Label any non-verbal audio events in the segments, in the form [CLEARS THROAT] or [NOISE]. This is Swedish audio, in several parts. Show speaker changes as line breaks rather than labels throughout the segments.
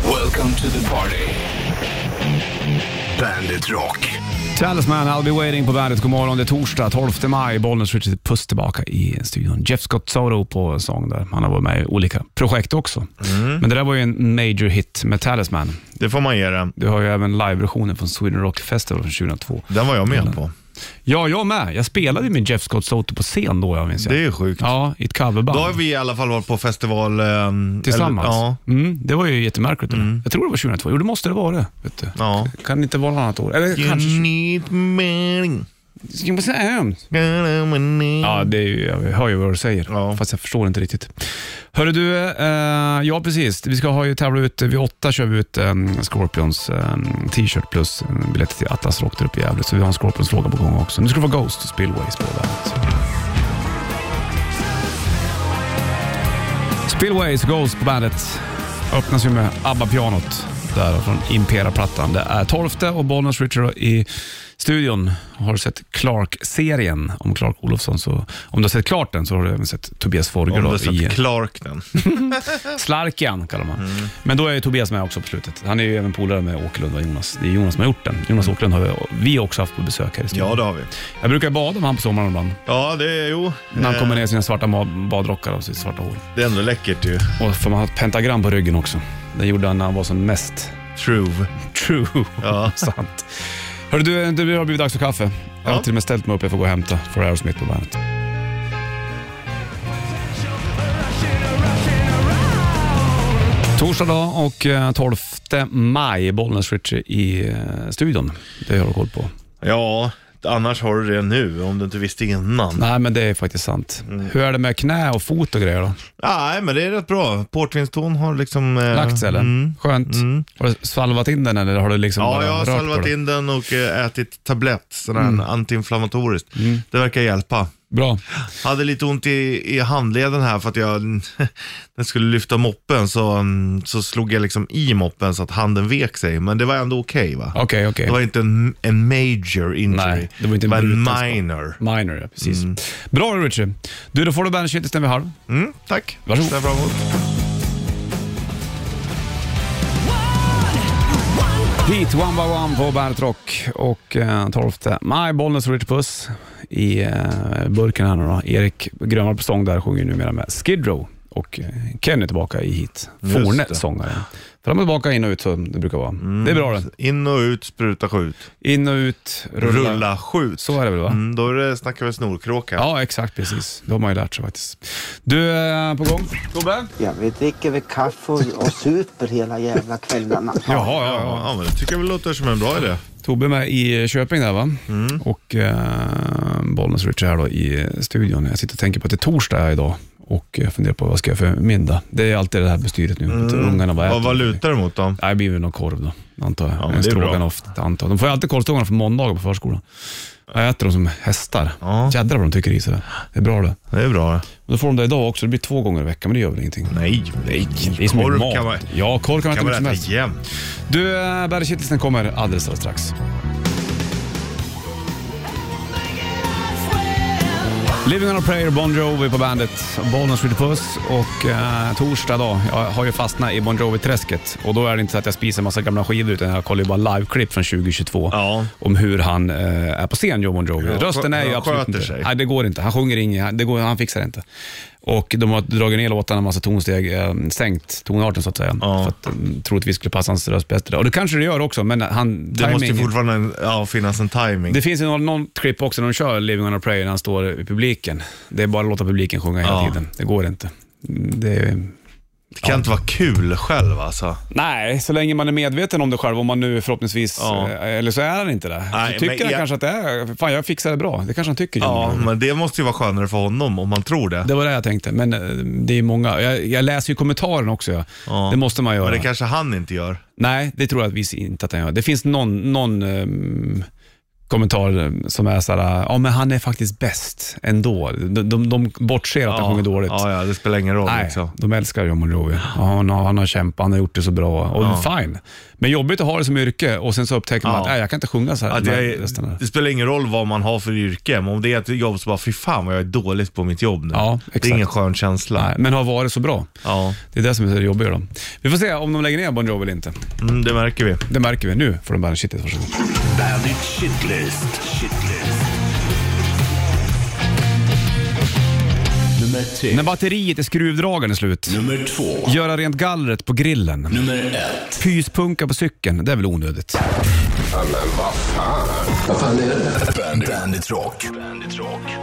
Welcome to the party. Bandit Rock.
Talisman, I'll be waiting på bandet. God morgon, det är torsdag 12 maj. Bollnäs Richard Puss tillbaka i studion. Jeff Scott Soto på sång där. Han har varit med i olika projekt också.
Mm.
Men det där var ju en major hit med Talisman.
Det får man ge den.
Du har ju även live-versionen från Sweden Rock Festival från 2002.
Den var jag med på.
Ja, jag med. Jag spelade ju med Jeff Scott Soto på scen då, jag minns jag.
Det är sjukt.
Ja, i ett coverband.
Då har vi i alla fall varit på festival... ehm,
Tillsammans?
Eller, ja.
mm, det var ju jättemärkligt. Mm. Jag tror det var 2002. Jo, det måste det vara. Vet du.
Ja.
Kan det inte vara något annat år? Eller
You
kanske...
need money.
Ska man säga ömt? Ja, det är ju, jag hör ju vad du säger,
Mm. Ja.
fast jag förstår inte riktigt. Hörru du, eh, ja precis. Vi ska ha ju tävla ut, vid åtta kör vi ut en Scorpions eh, t-shirt plus en biljett till Atlas Rock där uppe i Gävle. Så vi har en Scorpions-låga på gång också. Nu ska det vara Ghost och Spillways på bandet. Spillways, Ghost på bandet. Öppnas ju med ABBA-pianot där från Impera-plattan. Det är 12 och Bollnäs Richard i studion. Har du sett Clark-serien om Clark Olofsson så, om du har sett klart den så har du även sett Tobias Forge
Om
då
du
i
sett Clark den.
Slarkian kallar man. Men då är ju Tobias med också på slutet. Han är ju även polare med Åkerlund och Jonas. Det är Jonas som har gjort den. Jonas Åkerlund har vi- vi också haft på besök här i studion.
Mm. Ja, det har vi.
Jag brukar bada med han på sommaren ibland.
Ja, det är jo.
När han
eh,
kommer ner i sina svarta ma- badrockar och sitt svarta hår.
Det är ändå läckert ju.
Och får man ha ett pentagram på ryggen också. Det gjorde han när han var som mest
True.
true.
Ja.
[LAUGHS] Sant. Hörru du, det har blivit dags för kaffe. Jag har
Ja.
till och med ställt mig upp, jag får gå och hämta. För Aerosmith på bandet. Torsdag dag och eh, 12 maj, Bollnäs Ritchie i eh, studion. Det har du koll på.
Ja, annars har du det nu om du inte visste innan. Nej,
Nej, men det är faktiskt sant.
Mm.
Hur är det med knä och fot och grejer då?
men det är rätt bra. Portvinston har liksom... Eh,
Lagt sig eller?
Mm.
Skönt. Har du svalvat in den eller har du liksom
Ja,
bara
jag har
rört på Mm.
salvat
den?
in den och eh, ätit tablett, sån här antiinflammatoriskt.
Mm.
Det verkar hjälpa.
Bra.
Hade lite ont i, i handleden här för att jag, [LAUGHS] när jag skulle lyfta moppen så, mm, så slog jag liksom i moppen så att handen vek sig. Men det var ändå okej va?
Okej, okej.
Det var inte en, en major injury.
Nej, det var inte en
en
bruten skada.
minor.
Minor, ja precis. Bra Richard. Du, då får du bandet när vi halv.
Mm, tack.
Varsågod.
Ser jag fram emot.
Hit, One by One på Bandet Rock och eh, 12 maj, Bollnäs och Richard Puss i eh, burken här nu då. Erik Grönvall på sång där sjunger numera med Skid Row och eh, Kenny tillbaka i hit.
Just
Forne,
det.
sångaren. Fram och tillbaka, in och ut som det brukar vara.
Mm.
Det är bra det.
In och ut, spruta, skjut.
In och ut, rulla.
Rulla, skjut.
Så är det väl va?
Mm, då är det, snackar vi snorkråka.
Ja, exakt precis. Det har man ju lärt sig faktiskt. Du, eh, på gång? Tobbe?
Ja, vi dricker väl kaffe och, och super hela jävla kvällarna.
Jaha, ja, ja.
Ja, ja, men det tycker jag väl låter som en bra idé.
Tobbe med i Köping där va?
Mm.
Och eh, Bollnäs Richard här då i studion. Jag sitter och tänker på att det är torsdag här idag och jag funderar på vad ska jag för middag. Det är alltid det här bestyret nu. Mm. Ungarna vad äter
Vad, vad
de?
lutar det mot då?
Nej, det blir väl någon korv då, antar jag. en
Ja, det är bra.
stroganoff, antar jag. De får ju alltid korvstångarna från måndagar på förskolan. Jag äter dem som hästar.
Ja.
Jädrar vad de tycker i sig det. Det är bra det.
Det är bra.
Och då får de det idag också. Det blir två gånger i veckan, men det gör väl ingenting.
Nej,
Nej, det är som
Korv
mat.
kan man-
Ja, korv kan man äta
kan
hur mycket som
man äta
helst.
jämt.
Du, Bergkittelsen kommer alldeles alldeles strax. Living on a prayer, Bon Jovi på bandet. Bollnäs skjuter puss och eh, torsdag då, jag har ju fastnat i Bon Jovi-träsket. Och då är det inte så att jag spisar massa gamla skivor utan jag kollar ju bara liveklipp från 2022
Ja.
om hur han eh, är på scen, Joe Bon Jovi.
Ja,
Rösten är ju
han
absolut
sköter
inte...
sig.
Nej, det går inte. Han sjunger inget, han- det går, han fixar det inte. Och de har dragit ner låtarna en massa tonsteg, eh, sänkt tonarten så att säga.
Ja.
För att eh, troligtvis skulle passa hans röst bättre. Och det kanske det gör också, men han...
Det måste ju
timingen-
fortfarande en, ja, finnas en timing.
det finns ju någon, någon klipp också när de kör Living on a prayer när han står i publiken. Det är bara att låta publiken sjunga hela
Ja.
tiden. Det går inte. Det är,
Det kan inte vara kul själv alltså.
nej, så länge man är medveten om det själv, om man nu förhoppningsvis,
Ja.
eh, eller så är han inte det.
Nej,
så tycker
men
han
jag-
kanske att det är, fan jag fixar det bra. Det kanske han tycker.
Ja,
Johnny.
men det måste ju vara skönare för honom om man tror det.
Det var det jag tänkte, men eh, det är många. Jag, jag läser ju kommentaren också. Ja.
Ja.
Det måste man göra.
Men det kanske han inte gör.
Nej, det tror jag att vi inte att den gör. Det finns någon, någon ehm, kommentarer som är så här, ja men han är faktiskt bäst ändå. De, de, de bortser att han sjunger dåligt.
Ja, ja, det spelar ingen roll.
Nej,
Liksom.
de älskar John Monroe. Ja, han, har, han har kämpat, han har gjort det så bra. Och fine. Men jobbigt att ha det som yrke och sen så upptäcker man
Ja.
att nej, jag kan inte sjunga så här.
Att Alltså, jag,
Nej,
är-
resten är-
det spelar ingen roll vad man har för yrke, men om det är ett jobb så bara, fy fan vad jag är dåligt på mitt jobb nu.
Ja,
det
exakt.
är ingen skön känsla.
nej, men har varit så bra.
Ja,
Det är det som är så jobbigt. Då. Vi får se om de lägger ner Bon Jovi eller inte.
mm, det märker vi.
Det märker vi. Nu får de bära shitet. Varsågod.
Bandit Shitlist. Shitlist. Nummer tre.
När batteriet i skruvdragaren är slut.
Nummer två.
Göra rent gallret på grillen.
Nummer ett.
Pyspunka på cykeln, det är väl onödigt?
Bandit, Bandit Rock. Bandit Rock.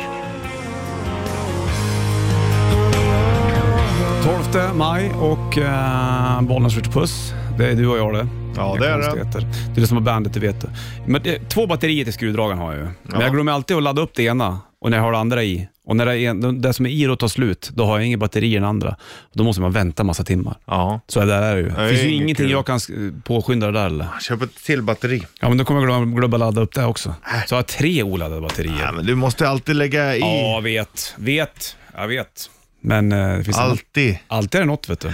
Tolfte maj och eh, Bollnäs Ritch Puss. Det är du och jag det.
Ja,
Inga
det är det.
konstigheter. Det är det som har bandet, det vet du. Men, eh, två batterier till skruvdragaren har jag ju. Men
Ja.
jag glömmer alltid att ladda upp det ena och när jag har det andra i. Och när det, en, det som är i då tar slut, då har jag inget batteri i den andra. Då måste man vänta massa timmar.
Ja.
Så där är det ju.
det är
finns ju
inget
ingenting
kul.
jag kan sk- påskynda det där eller?
Köp ett till batteri.
Ja, men då kommer jag glömma, glömma ladda upp det också. Så jag har tre oladdade batterier.
Äh. Ja, men du måste alltid lägga i.
Ja, vet. Vet. Jag vet. Men eh, det finns annat.
Alltid.
Alltid är det något, vet du.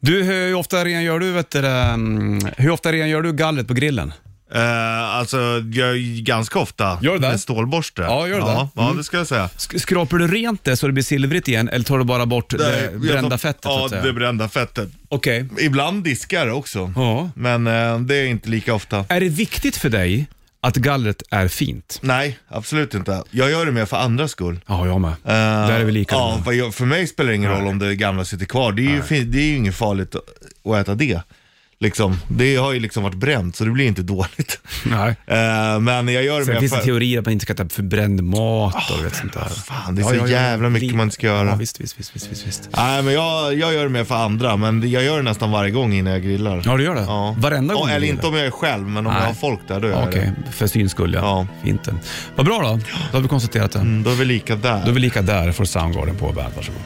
Du, hur ofta rengör du, vet du, det, mm, hur ofta rengör du gallret på grillen?
Eh, alltså, jag, ganska ofta.
Gör du det?
Med stålborste.
Ja, gör du
ja,
det?
Ja,
Mm.
det ska jag säga.
Sk- skrapar du rent det så det blir silvrigt igen eller tar du bara bort det,
jag
brända
tar-
fettet? så
Ja,
att säga?
det brända fettet.
Okej.
Ibland diskar också.
Ja.
Men eh, det är inte lika ofta.
Är det viktigt för dig att gallret är fint?
Nej, absolut inte. Jag gör det mer för andras skull. Eh,
Ja, jag med. Där är vi lika.
Ja, för, jag, för mig spelar det ingen roll om det gamla sitter kvar. Det är, ju, fin- det är ju inget farligt att- att äta det. Liksom. Det har ju liksom varit bränt, så det blir inte [LAUGHS] dåligt.
Nej.
Eh, men jag gör det
Sen
mer
finns
för...
det teorier att man inte ska äta förbränd mat och vet sånt där.
Fan, det är så jävla mycket
Lite.
man ska göra.
Ja, visst, visst, visst, visst, visst, visst.
Nej, men jag, jag gör det mer för andra, men jag gör det nästan varje gång innan jag grillar.
Ja, du gör det? Varenda gång
Ja,
du
Eller
grillar?
inte om jag är själv, men om
Nej.
jag har folk där, då gör
Ja,
jag
Okej,
det.
för syns skull ja.
Ja.
Fint. Vad bra då. Då har vi konstaterat det.
Mm, Då är vi lika där.
Då är vi lika där för Soundgarden på bandet. Varsågod.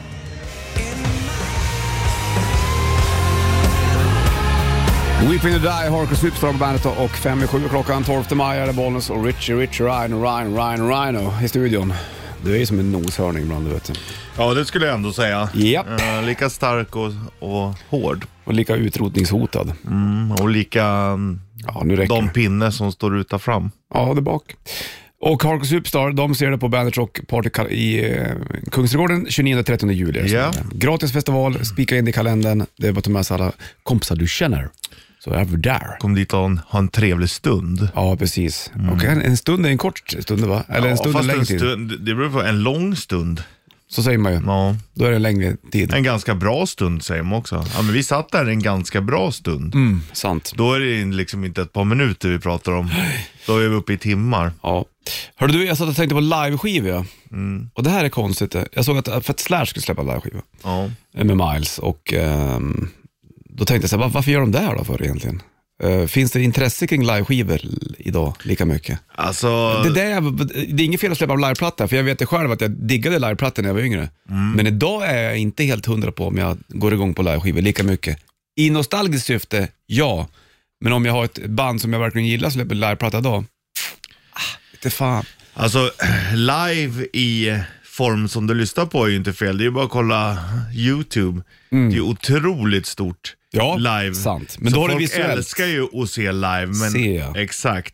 Weeping to Die, Harkus Superstar på bandet och fem i sju klockan 12 maj är det Bollnäs och Richie, Richie, Ryan, Ryan, Ryan, Rhino i studion. Du är ju som en noshörning ibland, du vet.
Ja, det skulle jag ändå säga.
Japp.
Eh, lika stark och, och hård.
Och lika utrotningshotad.
Mm, och lika mm,
Ja, nu räcker
de
det.
pinne som står uta fram.
Ja, där bak. Och Harkus Superstar, de ser det på Bandit Rock Party Kal- i eh, Kungsträdgården 29-30 juli. är det som
Ja. Mm.
gäller. Gratis festival, spika in det i kalendern. Det är bara att ta med sig alla kompisar du känner. Så är vi där.
Kom dit och ha en- ha en trevlig stund.
Ja, precis. Och en, en stund är en kort stund, va? Eller en
Ja,
stund är en
fast
längre tid.
stund, det beror på en lång stund.
Så säger man ju.
Ja.
Då är det en längre tid.
En ganska bra stund säger man också. Ja, men vi satt där en ganska bra stund.
Mm, sant.
Då är det liksom inte ett par minuter vi pratar om. Då är vi uppe i timmar.
Ja. Hörde du, jag satt och tänkte på liveskivor. Ja.
Mm.
Och det här är konstigt. ja. Jag såg att, för att Slash skulle släppa liveskiva
Ja.
eh, med Miles och ehm, då tänkte jag så här, "Va- varför gör de det här då för egentligen? Eh, finns det intresse kring liveskivor l- idag lika mycket?
Alltså,
Det, där, det är inget fel att släppa en liveplatta, för jag vet det själv att jag diggade liveplattor när jag var yngre.
Mm.
Men idag är jag inte helt hundra på om jag går igång på liveskivor lika mycket. I nostalgiskt syfte, ja. Men om jag har ett band som jag verkligen gillar som släpper liveplatta idag, ah, inte fan.
alltså, [CLEARS THROAT] live i form som du lyssnar på är ju inte fel. Det är ju bara att kolla YouTube. Det är ju otroligt stort
Mm. Ja,
live.
sant. Men
Så
då har det
folk
visuellt.
älskar ju att se live. Men,
Ser jag.
Exakt.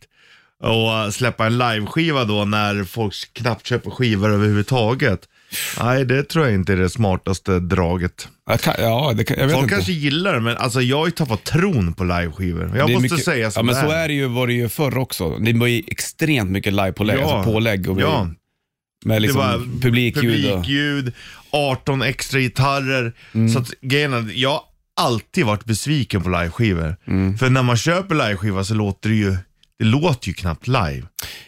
Och äh, släppa en liveskiva då när folk knappt köper skivor överhuvudtaget. Nej, det tror jag inte är det smartaste draget.
Jag kan, ja, det kan, jag vet
Folk
inte.
kanske gillar det, men alltså jag har ju tappat tron på liveskivor. Jag
Det är
måste
mycket-
säga
ja,
som
men
det
så är det ju, var det ju förr också. Det var ju extremt mycket livepålägg,
Ja.
alltså pålägg och
Ja,
med liksom
det var
publikljud. och,
publikljud 18 extra gitarrer. Så att grejen är, jag har alltid varit besviken på liveskivor.
Mm.
För när man köper liveskiva så låter det ju, det låter ju knappt live.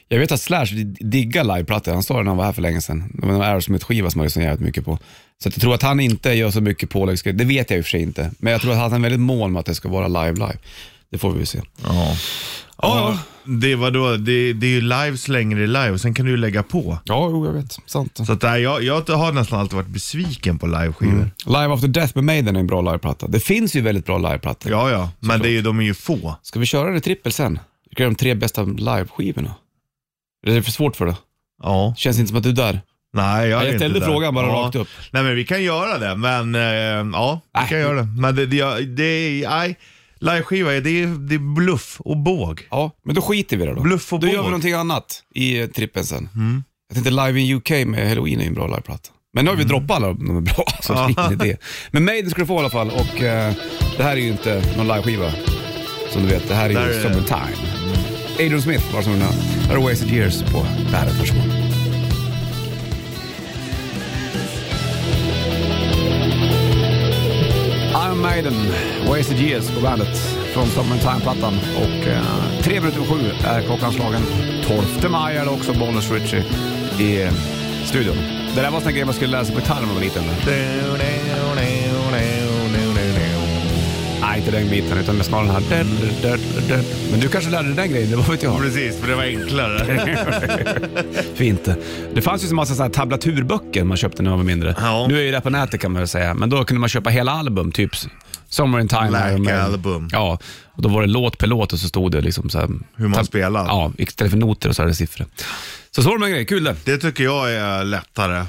Jag vet att Slash diggar liveplattor. Han sa det när han var här för länge sedan. Det var en Aerosmith-skiva som han lyssnade jävligt mycket på. Så att jag tror att han inte gör så mycket påläggsgrejer. Det vet jag i och för sig inte. Men jag tror att han är väldigt mån med att det ska vara live-live. Det får vi väl se.
Ja.
Ja,
Det, var då, det, det är ju live så länge det är live och sen kan du ju lägga på.
ja jo, jag vet. Sant.
Så att, nej, jag, jag har nästan alltid varit besviken på liveskivor.
Mm. Live After Death med Maiden är en bra liveplatta. Det finns ju väldigt bra liveplattor.
Ja, ja, men det är ju, de är ju få.
Ska vi köra det trippel sen? Vilka är de tre bästa liveskivorna? Är det för svårt för dig?
Ja.
Känns inte som att du är där.
Nej, jag
Jag
är inte
ställde
där.
frågan bara
ja.
rakt upp.
Nej, men vi kan göra det. Men eh, ja, vi
Nej.
kan göra det. Men det, det, jag- det är, nej. Liveskiva, är- det är, det är bluff och båg.
Ja, men då skiter vi i det då.
Bluff och
Då gör vi
båg.
någonting annat i eh, trippen sen. Jag tänkte Live in UK med Halloween är ju en bra liveplatta. Men nu har vi droppat alla de är bra, så det är [LAUGHS] ingen idé. Men Maiden ska du få i alla fall och eh, det här är ju inte någon liveskiva. Som du vet, det här är
Där
ju
är det.
Summertime. Adrian Smith var som den här. Här är Wasted Years på Bandet. Varsågod. Iron Maiden, Wasted Years på bandet från Summertime-plattan. Och eh, tre minuter över sju är klockan slagen. 12 maj är det också Bonus Richie i eh, studion. Det där var en sån grej man skulle lära sig på gitarr när man var liten. Nej, inte den biten, utan snarare den här.
Mm.
Men du kanske lärde dig den grejen, det vad vet jag.
Precis, för det var enklare.
[LAUGHS] Fint. Det fanns ju en massa såna här tablaturböcker man köpte när man var mindre.
Ja.
Nu är ju det på nätet kan man väl säga, men då kunde man köpa hela album, typ Summer in time.
Like
Iron Maiden.
album.
Ja, och då var det låt per låt och så stod det liksom så här,
Hur man
tab-
spelar.
Ja, istället för noter och så är det siffror. Så så var det med grejer, kul det.
Det tycker jag är lättare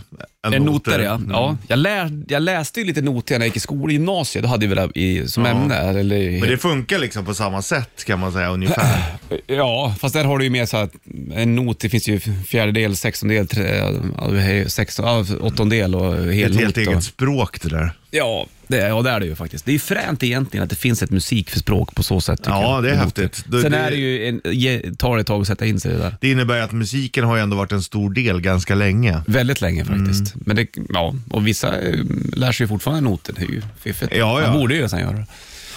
än
En noter, ja.
Mm.
ja. Jag, lär, jag läste ju lite noter när jag gick i skolan, i gymnasiet, då hade vi det i, som ämne. Eller, i-
Men det funkar liksom på samma sätt kan man säga ungefär.
[CLEARS THROAT] Ja, fast där har du ju mer så att en not, det finns ju fjärdedel, sextondel, tre- ja, hej, sexton- ja, åttondel och
Det är
helnot.
ett helt
och-
eget språk det där.
Ja, det, ja, det är det ju faktiskt. Det är ju fränt egentligen att det finns ett musik för språk på så sätt. tycker
Ja,
jag.
det är häftigt. Det-
Sen
det-
är det ju, en, ge, tar det ett tag att sätta in sig i det där.
Det innebär ju att musiken har ju ändå varit en stor del ganska länge.
Väldigt länge faktiskt.
Mm.
Men det, ja, och vissa eh, lär sig ju fortfarande noter. Det är ju fiffigt.
Ja, ja.
Man borde ju nästan göra det.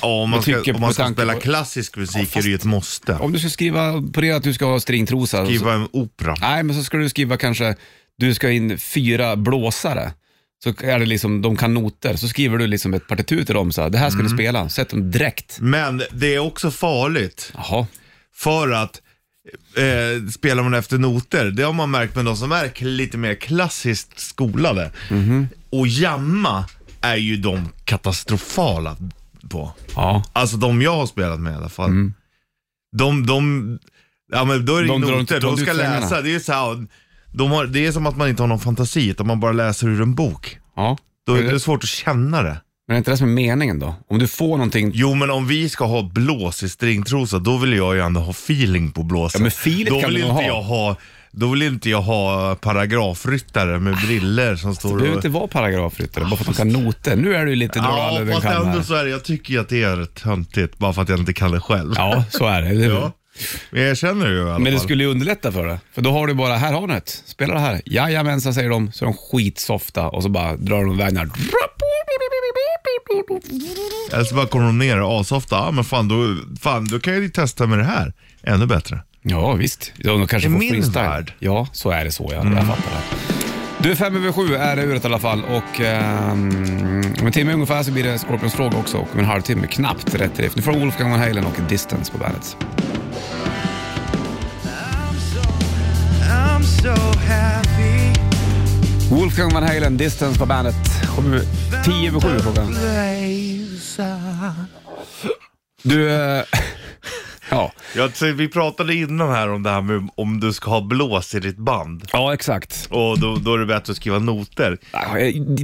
Ja, om man
Jag
ska,
tycker
om man
på
ska
tanke
spela
på-
klassisk musik
Ja, fast-
är det ju ett måste.
Om du ska skriva på det att du ska ha stringtrosa. och så-
Skriva en opera.
Nej, men så ska du skriva kanske, du ska in fyra blåsare. Så är det liksom, de kan noter. Så skriver du liksom ett partitur till dem. Så här, det här ska
Mm.
du spela. Sätt dem direkt.
Men det är också farligt
Jaha.
för att eh, spelar man efter noter, det har man märkt med de som är k- lite mer klassiskt skolade.
Mhm.
Och jamma är ju de katastrofala på.
Ja.
Alltså de jag har spelat med i alla fall. De, de, ja men då är det
Mm. De
de
drar inte-
noter,
drar
de
inte
ska
ut svängarna.
läsa. Det är, ju så här, de har, det är som att man inte har någon fantasi, utan man bara läser ur en bok.
ja.
Då är
Men det-
det svårt att känna det.
Men är inte det som är meningen då? Om du får någonting...
Jo men om vi ska ha blås i stringtrosa, då vill jag ju ändå ha feeling på blåsen.
Ja, men feeling
då
kan
vill
du
inte
ha.
jag ha. Då vill inte jag ha paragrafryttare med briller som
Det
står
Ah, behöver
och...
inte vara paragrafryttare, bara för att de kan noter. Nu är du ju lite drar
Ah, Ja,
alla över en
fast
kam
ändå
här.
så är det. Jag tycker ju att det är töntigt, bara för att jag inte kan det själv.
Ja, så är det. det
Ja. Men jag känner ju i alla
Men det
fall.
skulle ju underlätta för dig. För då har du bara, här har ni ett, spela det här. Jajamensan säger de, så är de skitsofta och så bara drar de iväg den här.
Eller så bara kommer de ner och asofta. Ja men fan då, fan då kan jag ju testa med det här. Ännu bättre.
Ja, visst. De kanske
I
får
min
freestyle.
värld. Mm.
Ja, så är det så ja. Jag fattar det. Du, fem över sju är det uret i alla fall och ehm, om en timme ungefär så blir det Scorpions fråga också och om en halvtimme knappt rätt drift. Nu får de Wolfgang Van Halen och Distance på bandet.
I'm so happy.
Wolfgang Van Halen, Distance på bandet. Sju- Tio över sju klockan. Du, eh, [LAUGHS] ja.
Jag, så vi pratade innan här om det här med om du ska ha blås i ditt band.
ja, exakt. eh,
Och då, då är det bättre att skriva noter.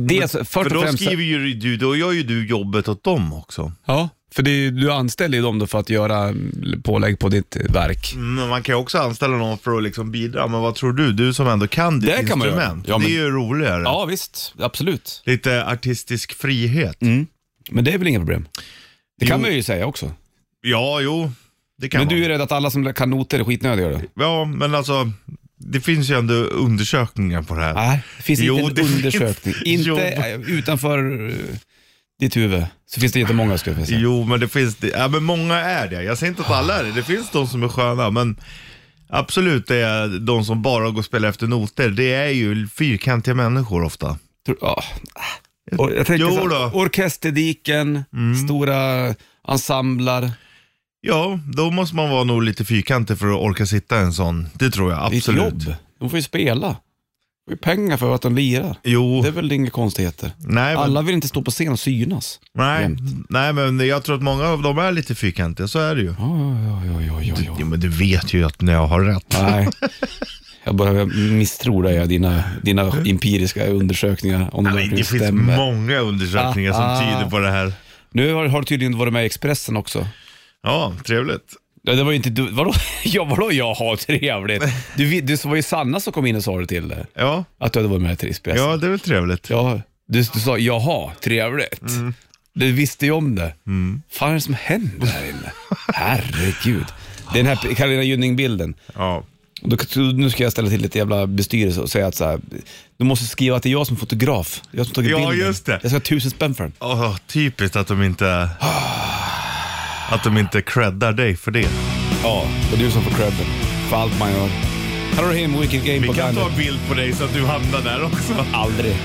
Dels, först och
För då
främst,
skriver ju du, då gör ju du jobbet åt dem också.
ja, för det är, ju- du anställer ju dem då för att göra mm, pålägg på ditt verk.
Mm, Men man kan ju också anställa någon för att liksom bidra. Men vad tror du? Du som ändå kan ditt
Det kan man göra.
instrument.
Ja, men-
Det är ju roligare.
Ja, visst. Absolut.
Lite artistisk frihet.
Mm. Men det är väl inga problem? Det kan
Jo.
man ju säga också.
Ja, jo. Det kan
men
man.
du är rädd att alla som kan noter är skitnödiga då?
Ja, men alltså. Det finns ju ändå undersökningar på det här.
Nej, det finns
Jo,
inte
det
en
finns.
[LAUGHS] undersökning. Inte
Jo.
eh, utanför eh, ditt huvud så finns det jättemånga skulle jag säga.
Jo, men det finns det. Ja, men många är det. Jag säger inte att
Ah.
alla är det. Det finns de som är sköna, men absolut det är de som bara går och spelar efter noter. Det är ju fyrkantiga människor ofta.
Tror- ah. Ja. Och jag tänker
Jo
så,
då.
här, Mm. orkesterdiken, stora ensembler.
Ja, då måste man vara nog lite fyrkantig för att orka sitta i en sån. Det tror jag
Det är ett
absolut.
jobb. De får ju spela. De får ju pengar för att de lirar.
Jo,
Det är väl inga konstigheter.
nej, men,
Alla vill inte stå på scen och synas.
nej,
jämt.
nej, men jag tror att många av dem är lite fyrkantiga, så är det ju.
Ja, ja, ja, ja, ja, ja.
Jo, men du vet ju att när jag har rätt.
Nej. Jag börjar misstro dig och dina, dina empiriska undersökningar. Om
Nej,
verkligen
det finns
stämmer.
många undersökningar
Ah, ah.
som tyder på det här.
Nu har, har du tydligen varit med i Expressen också.
Ja, trevligt.
Ja, det var ju inte du. Vadå? [LAUGHS] Ja, vadå jag har trevligt? Du, vi- du var ju Sanna som kom in och sa det till dig.
Ja,
Att du hade varit med i Expressen.
ja det är väl trevligt.
Ja, du, du sa jaha, trevligt. Du visste ju om det. Fan är det som händer här inne? Herregud. Det är den här Carolina Gynning-bilden.
Ja.
Då- Nu ska jag ställa till lite jävla bestyrelse och säga att så här, du måste skriva att det är jag som är fotograf. Det är Jag som tagit
Ja,
bilden.
just det.
Jag ska ha tusen spänn för den.
Åh, typiskt att de inte... Att de inte creddar dig för det.
Ja, och du som får credden för allt man gör. Här har du Him, Wicked Game på
Vi kan
bandet.
ta en bild på dig så att du hamnar där också. [LAUGHS]
Aldrig.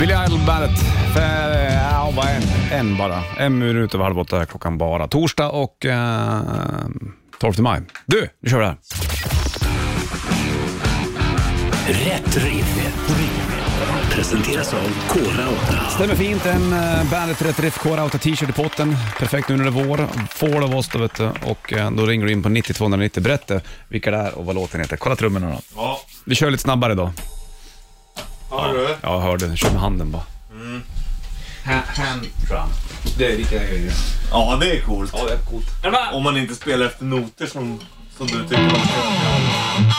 Billy Idol Bandet. För, eh, ja, vad en, en bara. En minut över halv åtta är klockan bara. Torsdag och eh, 12 maj. Du, nu kör vi det här.
Rätt riff. Presenteras av Kora 8.
Stämmer fint. En eh, Bandet Rätt Riff Core Outa t-shirt i potten. Perfekt nu när det är vår. Får av oss då vet du. Och eh, då ringer du in på 90-290. Berätta vilka det är och vad låten heter. Kolla trummorna då.
Ja,
Vi kör lite snabbare idag.
har du?
Ja, jag hörde. den. Kör med handen bara. Det är lika jag gör.
Ja, det är coolt.
det är coolt.
Om man inte spelar efter noter som, som du tycker man ska göra.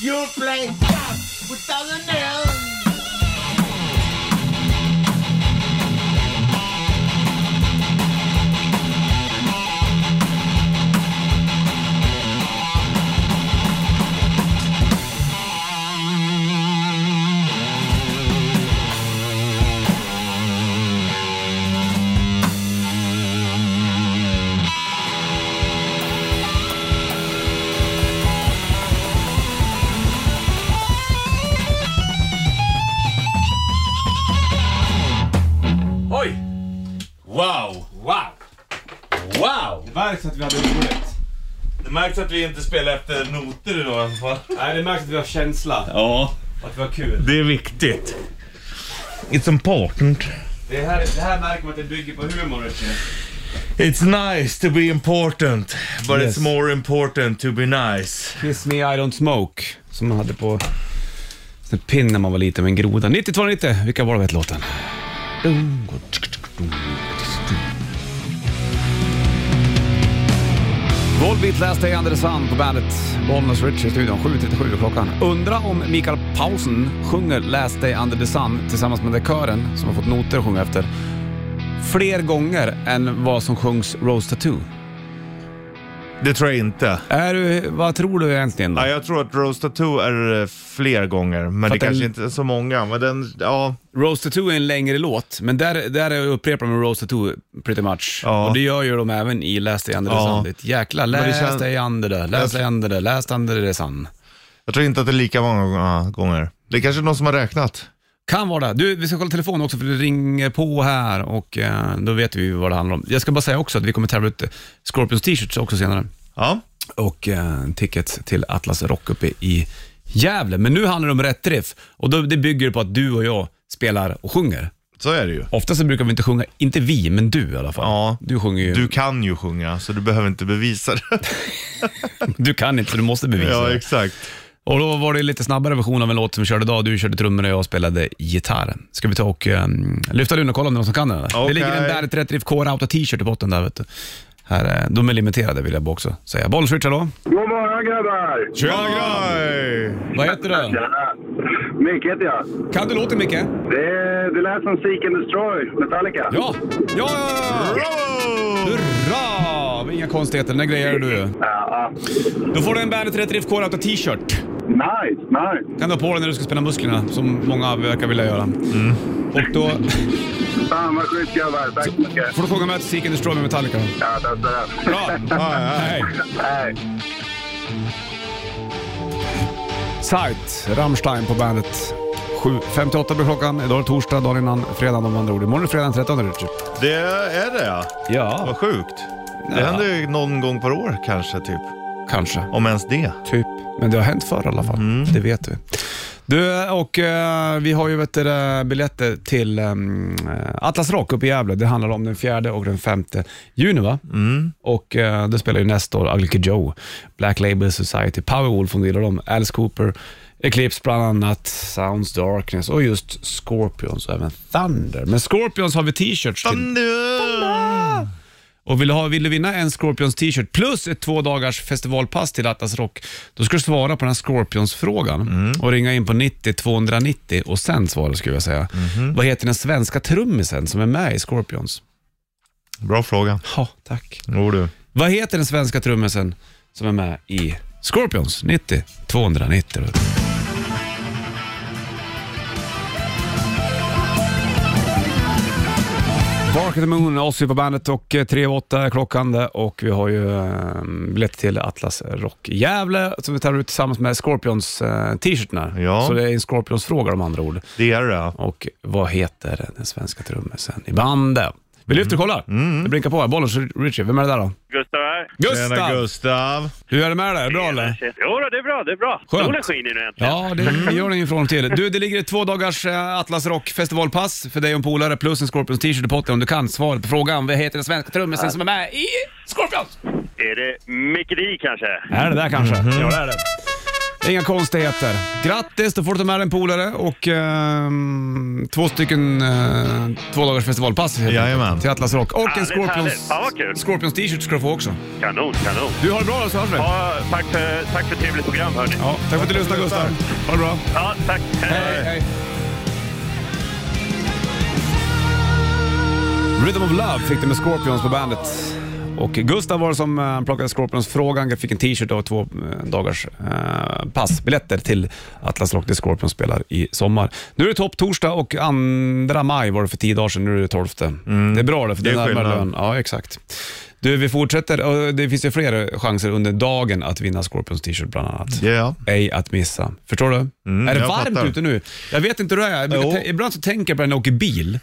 You play God with thousand nails.
Oj!
Wow!
Wow! Wow!
Det märks att vi hade roligt. Det märks att vi inte spelar efter noter idag i alla fall.
Nej, det märks att vi har känsla
Ja,
och att vi har kul.
det är viktigt. It's important.
Det här, det här märker man att det bygger på humor.
It's nice to be important, but
Yes.
it's more important to be nice.
Kiss me I don't smoke, som man hade på en pin när man var liten med en groda. 9290, vilka var det vet låten? Volbeat Last Day Under the Sun på bandet Bollnäs Rich i studion. 7.37 är klockan. Undra om Mikael Paulsen sjunger Last Day Under the Sun tillsammans med den kören som har fått noter att sjunga efter fler gånger än vad som sjungs Rose Tattoo.
Det tror jag inte.
Är du, vad tror du egentligen då?
Ja, jag tror att Rose Tattoo är eh, fler gånger, men det
att den-
kanske inte är så många. Men den, ja,
Rose Tattoo är en längre låt, men där, där upprepar man Rose Tattoo pretty much.
Ja.
Och det gör ju de även i Last Day Under the
Ja.
Sun. Det är ett jäkla
det
Last
känns-
Day Under the, Last Day Under the, Last Under the Sun.
jag tror inte att det är lika många ah, gånger. Det är kanske någon som har räknat.
Kan vara det. Du, vi ska kolla telefonen också för det ringer på här och eh, då vet vi vad det handlar om. Jag ska bara säga också att vi kommer tävla ut eh, Scorpions t-shirts också senare
Ja,
och eh, tickets till Atlas Rock uppe i Gävle. Men nu handlar det om rätt riff och då, det bygger på att du och jag spelar och sjunger.
så är det ju.
Ofta så brukar vi inte sjunga, inte vi, men du i alla fall.
Ja.
Du sjunger ju.
Du kan ju sjunga, så du behöver inte bevisa det.
Du kan inte, så du måste bevisa
[LAUGHS] ja,
det.
exakt.
Och då var det en lite snabbare version av en låt som vi körde idag. Du körde trummorna och jag spelade gitarr. Ska vi ta och um, lyfta luren och kolla om det är någon som kan den? eller? Det
Okej.
ligger en Bandet Rätt Riff Core Auto t-shirt i botten där. Vet du. Här, eh, de är limiterade vill jag bara också säga. Bollswitch, hallå?
God morgon grabbar!
Tja, graj!
Vad heter du?
Tjena! Micke heter jag.
Kan du låten Micke?
Det, det lät som Seek and Destroy, Metallica.
Ja! Ja!
Bravo!
Hurra! Men Inga konstigheter, den där grejer du ju.
Ja,
Då får du en Bandet Rätt Riff Core Auto t-shirt.
nice, nice.
Mm. kan du ha på dig när du ska spänna musklerna, som många verkar vilja göra. Och då...
Fan vad schysst grabbar. Tack så mycket.
Får du sjunga med till Seek and Destroy med Metallica då.
Ja, testa den.
Bra! Hej!
Hej.
Sight, Rammstein på bandet. 7.58 blir klockan. Idag är det torsdag, dagen innan fredag om andra ord. Imorgon är fredag den 13 Richard.
Det är det ja.
Ja,
Vad sjukt. Det
Ja.
händer ju någon gång per år kanske typ.
kanske.
Om ens det.
Typ. Men det har hänt förr i alla fall. Det vet vi. Du, och eh, vi har ju vet du, det, biljetter till um, Atlas Rock uppe i Gävle. Det handlar om den fjärde och den femte juni va? Och eh, det spelar ju nästa år Ugly Kid Joe, Black Label Society, Powerwolf om du gillar dem, Alice Cooper, Eclipse bland annat, Sounds Darkness och just Scorpions och även Thunder. Men Scorpions har vi t-shirts till. Och vill du, ha, vill du vinna en Scorpions t-shirt plus ett två dagars festivalpass till Atlas Rock, då ska du svara på den här Scorpions-frågan och ringa in på 90 290 och sen svara skulle jag säga. Vad heter den svenska trummisen som är med i Scorpions?
Bra fråga.
Ja, tack.
Jo du.
Vad heter den svenska trummisen som är med i Scorpions 90 290? Bark at the Moon, Ozzy på bandet och eh, tre och åtta är klockan det. och vi har ju eh, biljett till Atlas Rock i Gävle som vi tar ut tillsammans med Scorpions eh, t-shirtarna.
Ja.
Så det är en Scorpions-fråga om andra ord.
Det är det ja.
Och vad heter den svenska trummisen i bandet? Vi lyfter och kollar. Det blinkar på här. Bollens Richie, vem är det där då?
Gustav här.
Tjena
Gustav!
Gustav.
Hur är det med dig? Är det bra eller?
Jo, då, det är bra, det är bra.
Skönt.
Solen skiner nu äntligen.
Ja, det gör den ju från och till. Du, det ligger ett två dagars eh, Atlas Rock festivalpass för dig och en polare plus en Scorpions t-shirt i potten om du kan svara på frågan. Vad heter den svenska trummisen som är med i Scorpions?
Är det Mickey D kanske?
Är det där kanske? Ja, det är det. Det är Inga konstigheter. Grattis, då får du ta med dig en polare och ehm, två stycken eh, två dagars festivalpass helt enkelt,
Jajamän.
till Atlas Rock. Och en
Härligt, härligt.
Scorpions,
Fan, vad kul.
Scorpions t-shirt ska du få också.
Kanon, kanon.
Du, har det bra då så hörs vi.
Ja, tack för, tack för trevligt program hörni.
Ja, tack för att du lyssnade Gustav. Ha det bra.
Ja, tack.
Hej, hej. Rhythm of Love fick du med Scorpions på bandet. Och Gustav var det som eh, plockade Scorpions-frågan. Jag fick en t-shirt och två eh, dagars eh, passbiljetter till Atlas Rock där Scorpions spelar i sommar. Nu är det topptorsdag och 2 maj var det för tio dagar sedan. Nu är det 12. Det är bra det, för det
Mm.
är
Det är
närmare
skillnad.
lön. Ja, exakt. Du, vi fortsätter. Och Det finns ju fler chanser under dagen att vinna Scorpions t-shirt bland annat.
Ja, ja.
Ej att missa. Förstår du?
Mm,
är det
jag
varmt
fattar.
ute nu? Jag vet inte hur det är. Jag brukar
Jo.
tän- Ibland så tänker jag på när jag åker bil.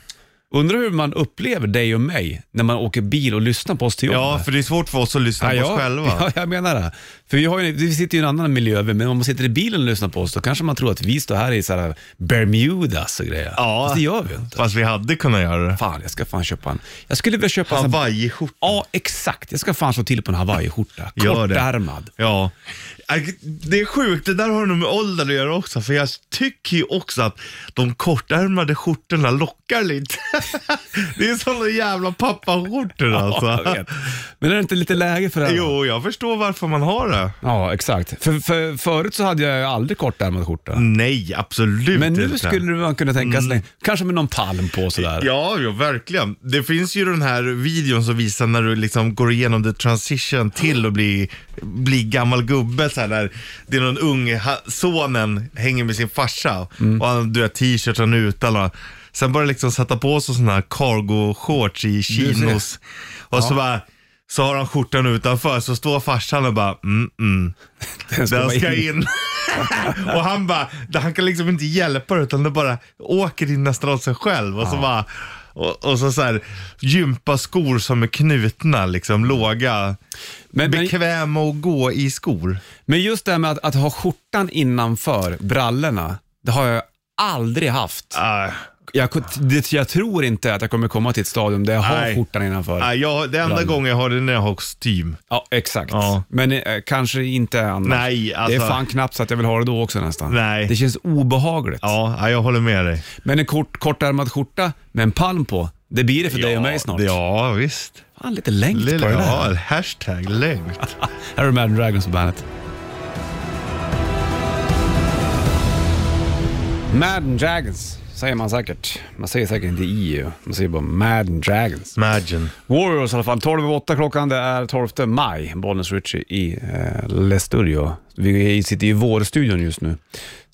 Undrar hur man upplever dig och mig när man åker bil och lyssnar på oss till jobbet.
Ja, för det är svårt för oss att lyssna på
ja,
oss själva.
[LAUGHS] Ja, jag menar det. För vi, har ju, vi sitter ju i en annan miljö, men om man sitter i bilen och lyssnar på oss, då kanske man tror att vi står här i så här Bermudas och grejer.
Ja.
Fast det gör vi ju inte.
Fast vi hade kunnat göra det.
Fan, jag ska fan köpa en... Jag skulle vilja köpa en... sån-
Hawaiiskjorta.
Ja, exakt. Jag ska fan slå till på en hawaiiskjorta.
Gör det.
Kortärmad.
Ja. Äh, Det är sjukt, det där har nog med ålder att göra också. För jag tycker ju också att de kortärmade skjortorna lockar lite. [LAUGHS] det är sådana jävla pappaskjortor
Ja, jag
alltså.
vet. Men är det inte lite läge för det? här?
Jo, jag förstår varför man har det.
Ja, exakt. För, för, förut så hade jag ju aldrig kortärmad skjorta.
Mm, Nej, absolut
Men nu
inte.
skulle man kunna tänka sig, kanske med någon palm på sådär.
Mm. Ja, ja, verkligen. Det finns ju den här videon som visar när du liksom går igenom the transition till att bli, bli gammal gubbe. Så här, där det är någon ung, ha, sonen hänger med sin farsa och han, du har t-shirten utan. Och, sen börjar liksom sätta på sig sådana här cargo-shorts i chinos. Och så bara, så har han skjortan utanför, så står farsan och bara, mm, mm.
Den
Den
vara
ska in. [LAUGHS] och han bara, han kan liksom inte hjälpa det utan det bara åker in nästan av sig själv. Och så bara, och, och så, så här, gympaskor som är knutna liksom, låga.
Men, men,
Bekväma att gå i skor.
men just det här med att, att ha skjortan innanför brallorna, det har jag aldrig haft.
Äh,
Jag, ku- det, jag tror inte att jag kommer komma till ett stadium där jag har
Nej.
skjortan innanför.
äh, jag, det enda
Brallor.
gången jag har det är när jag har kostym.
Ja, exakt.
Ja.
Men eh, kanske inte annars.
Nej, alltså-
Det är fan knappt så att jag vill ha det då också nästan.
Nej.
Det känns obehagligt.
Ja, äh, jag håller med dig.
Men en kort, kortärmad skjorta med en palm på, det blir det för dig och mig snart.
Ja, visst.
Fan, lite längd på
Lilla,
det där.
ja, hashtag längt.
[LAUGHS] Här är Imagine Dragons på bandet. Madden Dragons säger man säkert. Man säger säkert inte EU, man säger bara Madden Dragons.
Imagine.
Warriors i alla fall. 12 över 8 klockan, det är 12 maj. Bollnäs Ritchie i eh, Lestudio. Vi sitter i vårstudion just nu.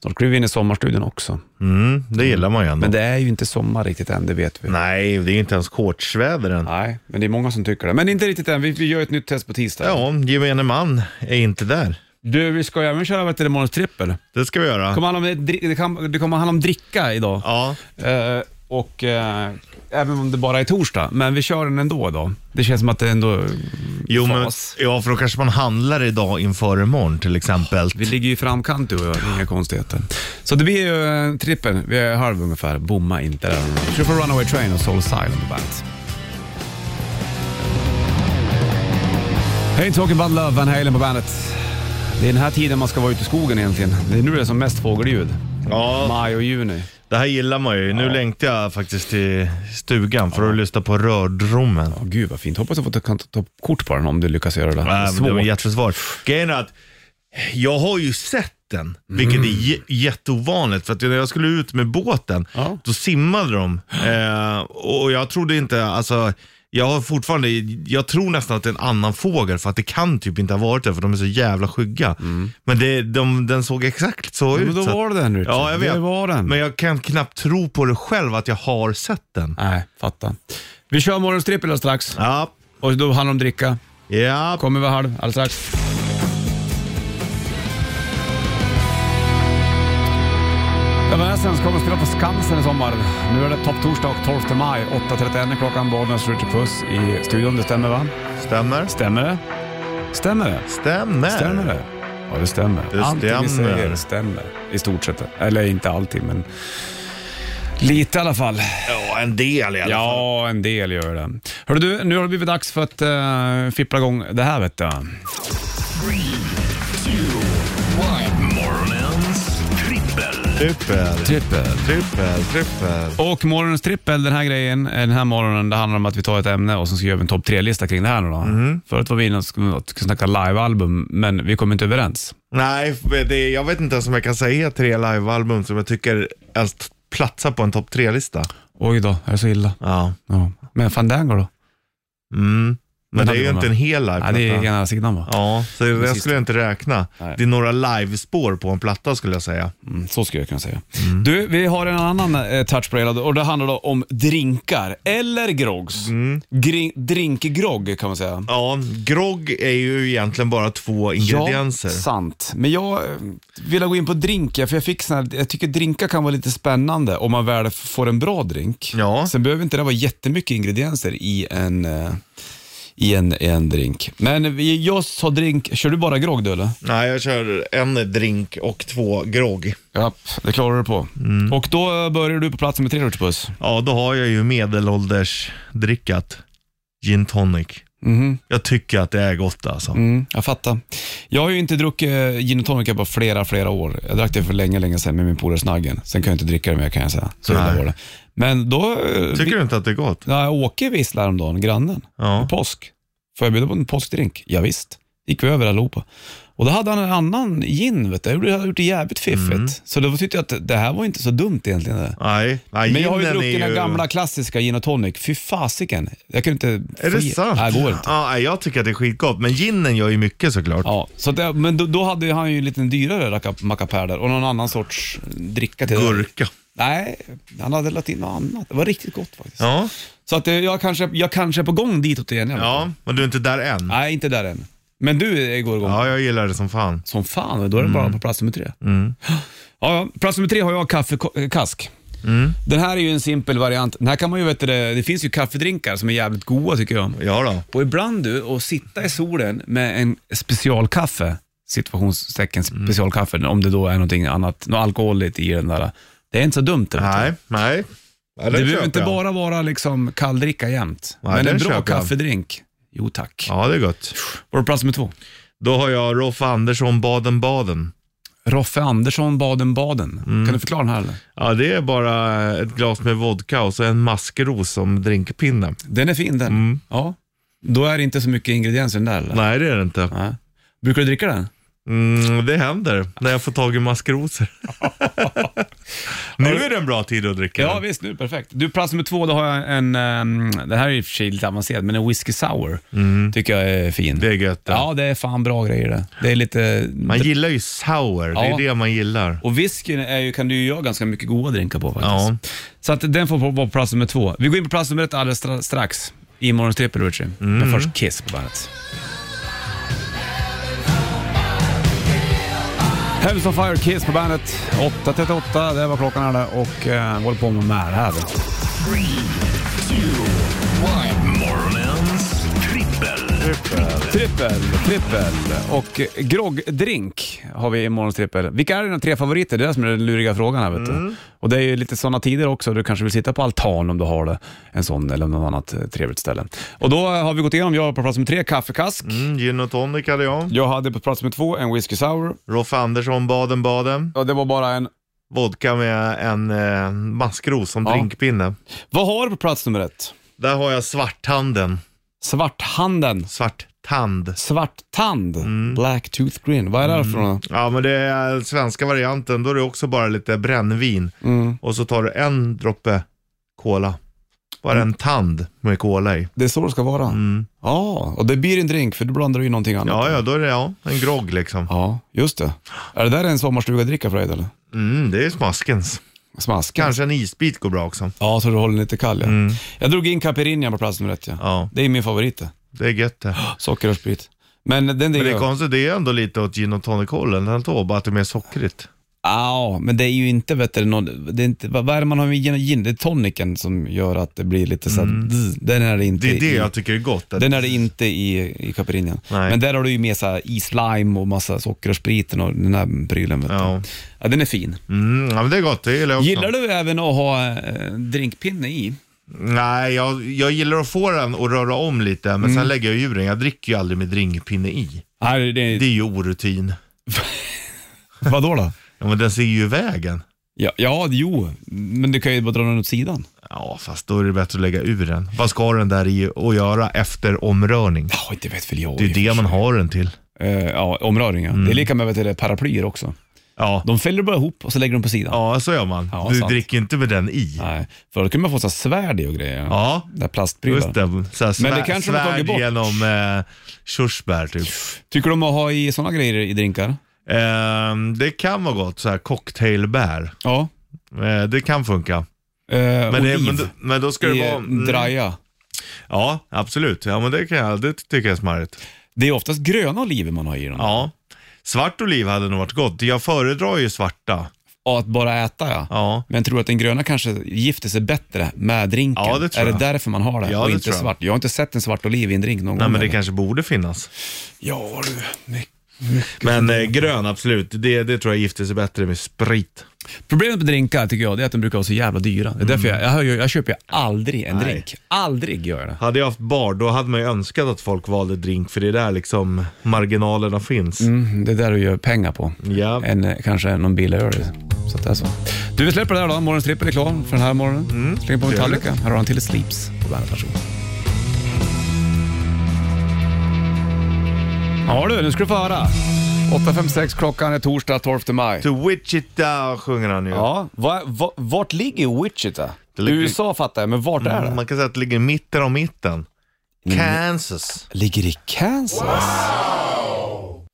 Snart kliver vi in i sommarstudion också.
Mm, det gillar man ju ändå.
Men det är ju inte sommar riktigt än, det vet vi.
Nej, det är inte ens shortsväder än.
Nej, men det är många som tycker det. Men inte riktigt än, vi, vi gör ett nytt test på tisdag.
Ja, gemene man är inte där.
Du, vi ska ju även köra Vätternremorgens trippel.
Det ska vi göra.
Kommer handla om, dri- det, kan, det kommer handla om dricka idag.
Ja,
Eh, och eh, även om det bara är torsdag, men vi kör den ändå idag. Det känns som att det ändå...
jo, men,
Fas.
ja, för då kanske man handlar idag inför imorgon till exempel.
Vi ligger ju i framkant du och jag, det är inga konstigheter. Så det blir ju eh, trippen, vi är halv ungefär. Bomma inte där. Vi kör på Runaway Train och Soul Silent på bandet. Hey, talking about love, Van Halen på bandet. Det är den här tiden man ska vara ute i skogen egentligen. Det är nu det är som mest fågelljud.
Ja.
Maj och juni.
Det här gillar man ju. Nu längtar jag faktiskt till stugan för att lyssna på rördrommen.
Åh gud vad fint. Hoppas jag får ta, kan ta, ta kort på den om du lyckas göra det.
Ja, men det var
Svårt.
jättesvårt. Grejen är att jag har ju sett den, vilket är
Mm.
j- jätteovanligt. För att när jag skulle ut med båten,
Ja.
då simmade de. Eh, och jag trodde inte, alltså, jag har fortfarande, jag tror nästan att det är en annan fågel för att det kan typ inte ha varit det för de är så jävla skygga. Men det, de, den såg exakt så
Mm. Ja,
ut.
men då
så att-
var det den Richard.
Ja, jag vet.
Det var den.
Men jag kan knappt tro på det själv att jag har sett den.
Nej, fattar. Vi kör morgonstrippel alldeles strax.
Ja,
Och då handlar det om dricka.
ja.
Kommer vi halv alldeles strax. Evanescence kommer att spela på Skansen i sommar. Nu är det topptorsdag och 12 maj. 8.31 är klockan. Bollnäs Richard Puss i studion. Det stämmer va?
Stämmer.
Stämmer det? Stämmer det?
Stämmer.
Stämmer det? Ja, det stämmer.
Det
Allting vi
stämmer.
säger stämmer. I stort sett. Eller inte alltid, men lite i alla fall.
Ja, en del i alla fall.
Ja, en del gör det. Hörru du, nu har det blivit dags för att uh, fippla igång det här vet du.
Morgonens trippel.
Trippel.
Trippel.
Trippel, trippel.
Och morgonens trippel den här grejen, eh, den här morgonen, det handlar om att vi tar ett ämne och sen så gör vi en topp tre-lista kring det här nu då. Förut var vi inne och skulle skulle snacka livealbum, men vi kom inte överens.
Nej, det, jag vet inte ens om jag kan säga tre livealbum som jag tycker ens platsar på en topp tre-lista.
Oj då, är det så illa?
Ja.
Ja. Men Fandango då?
Mm. Men
Den
det är
hade
ju
man
inte
med.
en hel
Ja,
liveplatta.
det är ena sidan va?
Ja, så det
Precis.
skulle jag inte räkna.
Nej.
Det är några livespår på en platta skulle jag säga.
Mm, så skulle jag kunna säga.
Mm.
Du, vi har en annan eh, touch på det hela och det handlar då om drinkar eller groggs.
Mm.
Gri- drinkgrogg kan man säga.
Ja, grogg är ju egentligen bara två ingredienser.
Ja, sant. Men jag eh, ville gå in på drinkar, för jag fick sån här, jag tycker drinkar kan vara lite spännande om man väl får en bra drink.
Ja.
Sen behöver inte det vara jättemycket ingredienser i en, eh, i en, i en drink. Men vi- jag sa drink, kör du bara grogg du eller?
Nej, jag kör en drink och två grogg.
Ja, det klarar du på.
Mm.
Och då eh, börjar du på plats med tre rutschbuss.
Ja, då har jag ju medelåldersdrickat gin tonic.
Mhm.
Jag tycker att det är gott alltså.
Mm, jag fattar. Jag har ju inte druckit eh, gin och tonic på flera, flera år. Jag drack det för länge, länge sedan med min polare Snaggen. Sen kan jag inte dricka det mer kan jag säga. Så illa
Nej.
var det. Men då... eh,
Tycker du inte att det är gott?
Ja, Åke visslade häromdagen, grannen.
Ja.
På påsk. Får jag bjuda på en påskdrink? Ja, visst. gick vi över allihopa. Och då hade han en annan gin, vet du. Jag hade gjort det jävligt fiffigt.
Mm.
Så då tyckte jag att det här var inte så dumt egentligen. Det.
Nej, nej
Men jag har ju
ginen är
druckit den gamla klassiska gin och tonic. Fy fasiken. Jag kunde inte...
Är det
fri-
sant?
Nej, det går inte.
Ja, nej, jag tycker att det är skitgott, men ginen gör ju mycket såklart.
Ja, så att det, men då, då hade ju han ju en liten dyrare racka- mackapär där och någon annan sorts dricka till. det.
Gurka.
Nej, han hade lagt in något annat. Det var riktigt gott faktiskt.
Ja.
Så att eh, jag kanske, jag kanske är på gång ditåt igen. jag vet inte.
ja, men du är inte där än.
Nej, inte där än. Men du eh, går igång
Ja, Mm. jag gillar det som fan.
som fan. Då är det bara på plats nummer tre.
Mm.
Ja, ja, plats nummer tre har jag kaffekask.
Mm.
Den här är ju en simpel variant. Den här kan man ju, vet du, det det finns ju kaffedrinkar som är jävligt goda tycker jag.
Ja då.
Och ibland du, och sitta i solen med en specialkaffe, situationstecken
Mm.
specialkaffe, om det då är någonting annat, något alkoholigt i den där. Det är inte så dumt. Det, vet du.
Nej, nej. Ja,
det behöver
köper
inte
jag.
bara vara liksom kalldricka jämt,
Nej,
men en
den
bra
köper jag.
kaffedrink. Jo tack.
Ja, det är gott.
Var det plats nummer två?
Då har jag Rolf Andersson Baden-Baden.
Roffe Andersson, Baden-Baden.
Mm.
Kan du förklara den här? Eller?
Ja, det är bara ett glas med vodka och så en maskros som drinkpinne.
Den är fin den. Ja. Då är det inte så mycket ingredienser i den där eller?
Mm. Nej, det är det inte.
Nej. Brukar du dricka den? [LAUGHS]
Mm, det händer när jag får tag i maskroser. Nu är det en bra tid att dricka.
Ja visst, nu perfekt. Du, plats nummer två, då har jag en, ehm, det här är i och för sig lite avancerat, men en whisky sour tycker jag är fin.
Mm. Det är gött. det.
Ja, det är fan bra grejer det. Det är lite...
Man gillar ju sour, det
Ja.
är det man gillar.
Och whiskyn är ju, kan du ju göra ganska mycket goda drinkar på faktiskt.
Ja.
Så att den får vara på plats nummer två. Vi går in på plats nummer ett alldeles stra- strax. I morgons trippel, Richie.
Mm.
Men först Kiss på bandet. Heavens on Fire, Kiss på bandet. 8.38, det var klockan alla och eh, vi håller på med Mär här.
Morgonens trippel.
Trippel, trippel och groggdrink har vi i morgons trippel. Vilka är dina tre favoriter? Det är det som är den luriga frågan här. Vet du.
Mm.
Och det är ju lite sådana tider också. Du kanske vill sitta på altan om du har det. En sån eller något annat eh, trevligt ställe. Och då har vi gått igenom. Jag har på plats med tre kaffekask.
Mm, gin och tonic hade jag.
Jag hade på plats med två en whisky sour.
Rolf Andersson, Baden-Baden.
Och det var bara en...
Vodka med en eh, maskros som
Ja.
drinkpinne.
Vad har du på plats nummer ett?
Där har jag svarthanden.
Svarthanden.
Svarttand.
Svarttand.
Mm.
Black tooth green. Vad är det här för något?
Ja, men det är svenska varianten. Då är det också bara lite brännvin.
Mm.
Och så tar du en droppe cola. Bara
Mm.
en tand med cola i.
Det är så det ska vara.
Mm.
Ja, och det blir en drink för du blandar ju in någonting annat.
Ja, ja, då är det ja, en grogg liksom.
Ja, just det. Är det där en sommarstugedricka för dig eller?
Mm, det är smaskens.
Smask?
Kanske en isbit går bra också.
Ja, så du håller den lite kall ja. Jag drog in caipirinha på plats nummer ett ja.
Ja.
Det är min favorit det.
Det är gött det.
Socker och sprit. Men den
Men
dricker
det är
jag.
konstigt, det är ändå lite åt gin och tonic-hållen ändå, bara att det är mer sockrigt.
Ja, men det är ju inte, vet du, någon, det är inte, vad, vad är det man har med gin? gin? Det är toniken som gör att det blir lite så här, dzz. den är det inte
Mm. Det är det
i,
jag tycker är gott. att-
Den är det inte i, i caipirinhan.
Nej.
Men där har du ju med så här islime och massa socker och spriten och den här prylen. Vet du.
Ja.
ja, den är fin.
Mm, ja, men det är gott, det gillar jag också.
Gillar du även att ha eh, drinkpinne i?
Nej, jag, jag gillar att få den och röra om lite, men
Mm.
sen lägger jag ju den. Jag dricker ju aldrig med drinkpinne i.
Nej, det,
Det är ju orutin.
Vadå då?
Ja, men den ser ju i vägen.
Ja, ja, jo, men du kan ju bara dra den åt sidan.
Ja, fast då är det bättre att lägga ur den. Vad ska den där i att göra efter omrörning?
Ja, inte vet väl jag.
Det Mm. är ju det man har den till.
Eh, ja, omröringar. Det är lika med vet du, det, paraplyer också.
Ja,
De fäller bara ihop och så lägger de på sidan.
ja så gör man.
Ja,
du
sant.
dricker ju inte med den i.
Nej, förut kunde man få så här svärd i och grejer.
Ja,
Där plastprylar.
just det. Så här, svär,
Men det kanske de har tagit
svärd
bort.
genom eh, körsbär typ.
Tycker du om att ha i sådana grejer i drinkar?
Ehm, det kan vara gott, så här cocktailbär.
Ja.
Eh, det kan funka.
Eh,
Men,
oliv
det, men, det- men då ska det
i eh,
vara... mm,
draja.
Ja, absolut. Ja, men det, kan jag, det tycker jag är smarrigt.
Det är oftast gröna oliver man har i dem. Ja.
Ja. Svart oliv hade nog varit gott. Jag föredrar ju svarta.
att bara äta ja.
Ja.
Men jag tror att den gröna kanske gifter sig bättre med drinken.
Ja, det tror
är
jag.
det därför man har det?
Ja,
och
det
inte
tror jag.
svart. Jag har inte sett en svart oliv i en drink någon
Nej,
gång.
men det
eller?
kanske borde finnas.
Ja du, mycket.
Men eh, grön, absolut. Det, det tror jag gifter sig bättre med sprit.
Problemet med drinkar tycker jag det är att de brukar vara så jävla dyra. Det är därför
Mm.
jag, jag, hör ju- jag köper ju aldrig en drink. Aldrig gör jag det.
Hade jag haft bar, då hade man ju önskat att folk valde drink, för det är där liksom marginalerna finns.
Mm, det är där du gör pengar på.
Ja.
En, eh, kanske någon billig öl. Så att det är så. Du, vi släpper det där då. Morgonens trippel är klar för den här morgonen.
Mm.
Släng på Metallica. Här har han till Sleeps på bandet. Varsågod. Ja du, nu ska du få höra. 8.56 klockan är torsdag 12 maj.
To Wichita sjunger han ju.
Ja, va, va, vart ligger Wichita?
Det ligger- Mm,
USA fattar jag, men vart är det?
Man kan säga att det ligger i mitten av mitten.
Mm.
Kansas.
Ligger i Kansas?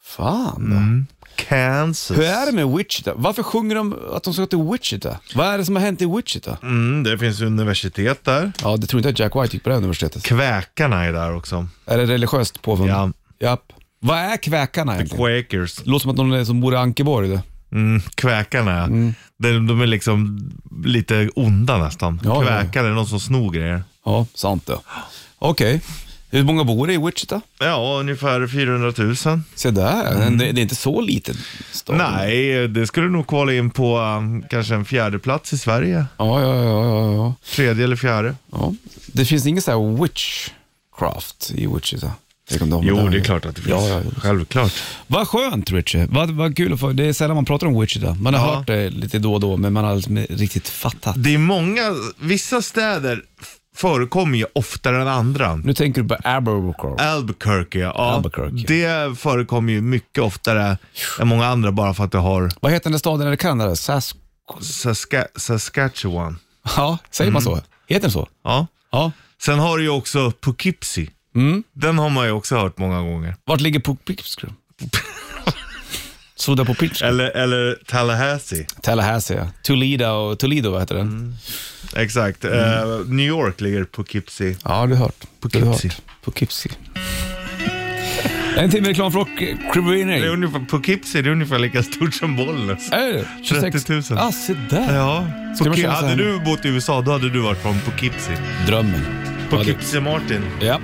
Fan.
Mm. Kansas.
Hur är det med Wichita? Varför sjunger de att de ska till Wichita? Vad är det som har hänt i Wichita?
Mm, det finns universitet där.
Ja, det tror inte att Jack White gick på det här universitetet.
Kväkarna är där också.
Är det religiöst påfund?
Ja.
Japp. Vad är kväkarna egentligen?
Quakers.
Det låter som att någon är som bor i Ankeborg. Det.
Mm, kväkarna, ja.
Mm.
de, de är liksom lite onda nästan.
Ja, ja, ja.
Kväkare, någon som snor grejer.
Ja, sant det. Okej. Hur många bor det i Wichita?
Ja, ungefär 400 000.
Se där, det, det är inte så liten stad.
Mm. Nej, det skulle nog kvala in på um, kanske en fjärde plats i Sverige.
Ja, ja, ja, ja, ja.
Tredje eller fjärde.
ja. Det finns ingen så här witchcraft i Wichita. Tänk om de har med Ja, ja, ja.
Självklart.
Vad skönt Richie. Vad, vad kul att få. Det är sällan man pratar om Wichita. Man har hört det lite då och då, men man har liksom inte riktigt fattat.
Det är många, vissa städer f- förekommer ju oftare än andra.
Nu tänker du på Abercrombie.
Albuquerque, ja. ja.
Albuquerque.
Det förekommer ju mycket oftare än många andra bara för att det har...
Vad heter den där staden där det kan? Sask...
Saska- Saskatchewan.
Ja, säger man så? Heter den så?
Mm. Ja.
Ja.
Sen har du ju också Poughkeepsie.
Mm.
Den har man ju också hört många gånger.
Vart ligger Poughkeepsie?
[LAUGHS]
Sudda Poughkeepsie?
Eller, eller Tallahassee.
Tallahassee, ja. Toledo, och Toledo vad heter den?
Mm. Exakt.
Mm.
Eh, New York ligger Poughkeepsie.
Ja, du har hört.
Poughkeepsie.
Du har hört. Poughkeepsie. En timme reklam för Rock-Crew
Det är ungefär, Poughkeepsie det är ungefär lika stort som Bollnäs.
Är det 26?
30 000.
Ah, se där.
Ja.
Ska man
Poughke-
köra så
hade
här?
du bott i USA, då hade du varit från Poughkeepsie.
Drömmen.
Poughkeepsie Martin.
Ja.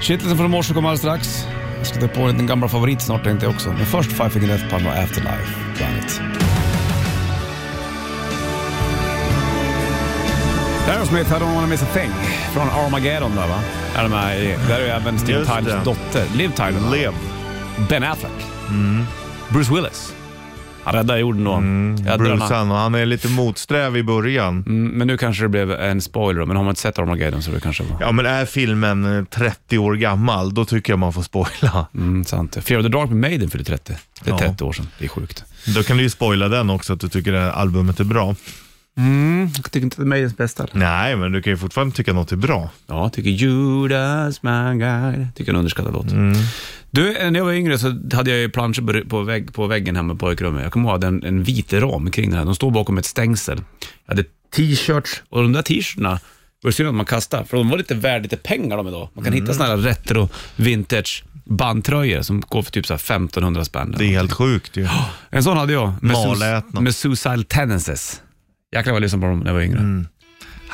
Kittelsen från morse kommer alldeles strax. Jag ska ta på en liten gammal favorit snart tänkte jag också. Men först Five Finger Death Punch och Afterlife. Bandet. Aerosmith, I don't wanna miss a thing. Från Armageddon där va? Är de med i. Där är ju även Steven
Just det.
Tylers dotter, Liv Tyler. med.
Lev.
Ben Affleck.
Mm.
Bruce Willis. Han räddade jorden då. Jag drömmer.
Brusan, och han är lite motsträvig i början.
Mm, Men nu kanske det blev en spoiler då. Men har man inte sett Armageddon så det kanske var...
Ja, men är filmen eh, 30 år gammal, då tycker jag man får spoila.
Mm, sant. Fear of the Dark med Maiden fyllde 30. Det är
Ja.
30 år sedan. Det är sjukt.
Då kan du ju spoila den också, att du tycker det här albumet är bra.
Mm, Jag tycker inte det är Maidens bästa.
Nej, men du kan ju fortfarande tycka något är bra.
Ja, jag tycker Judas my guide. Tycker en underskattad låt. Du, eh, när jag var yngre så hade jag ju planscher på, på, vägg, på väggen hemma på pojkrummet. Jag kommer ihåg att jag hade en, en vit ram kring den här. De stod bakom ett stängsel. Jag hade t-shirts och de där t-shirtarna var det synd att man kastade, för de var lite värda lite pengar de idag. Man kan hitta sådana här retro vintage bandtröjor som går för typ så här 1500 spänn.
Det är helt sjukt ju.
En sån hade jag. Med,
Malätna.
med Suicide Tendencies. Jäklar vad jag lyssnade på dem när jag var yngre.
Här Mm.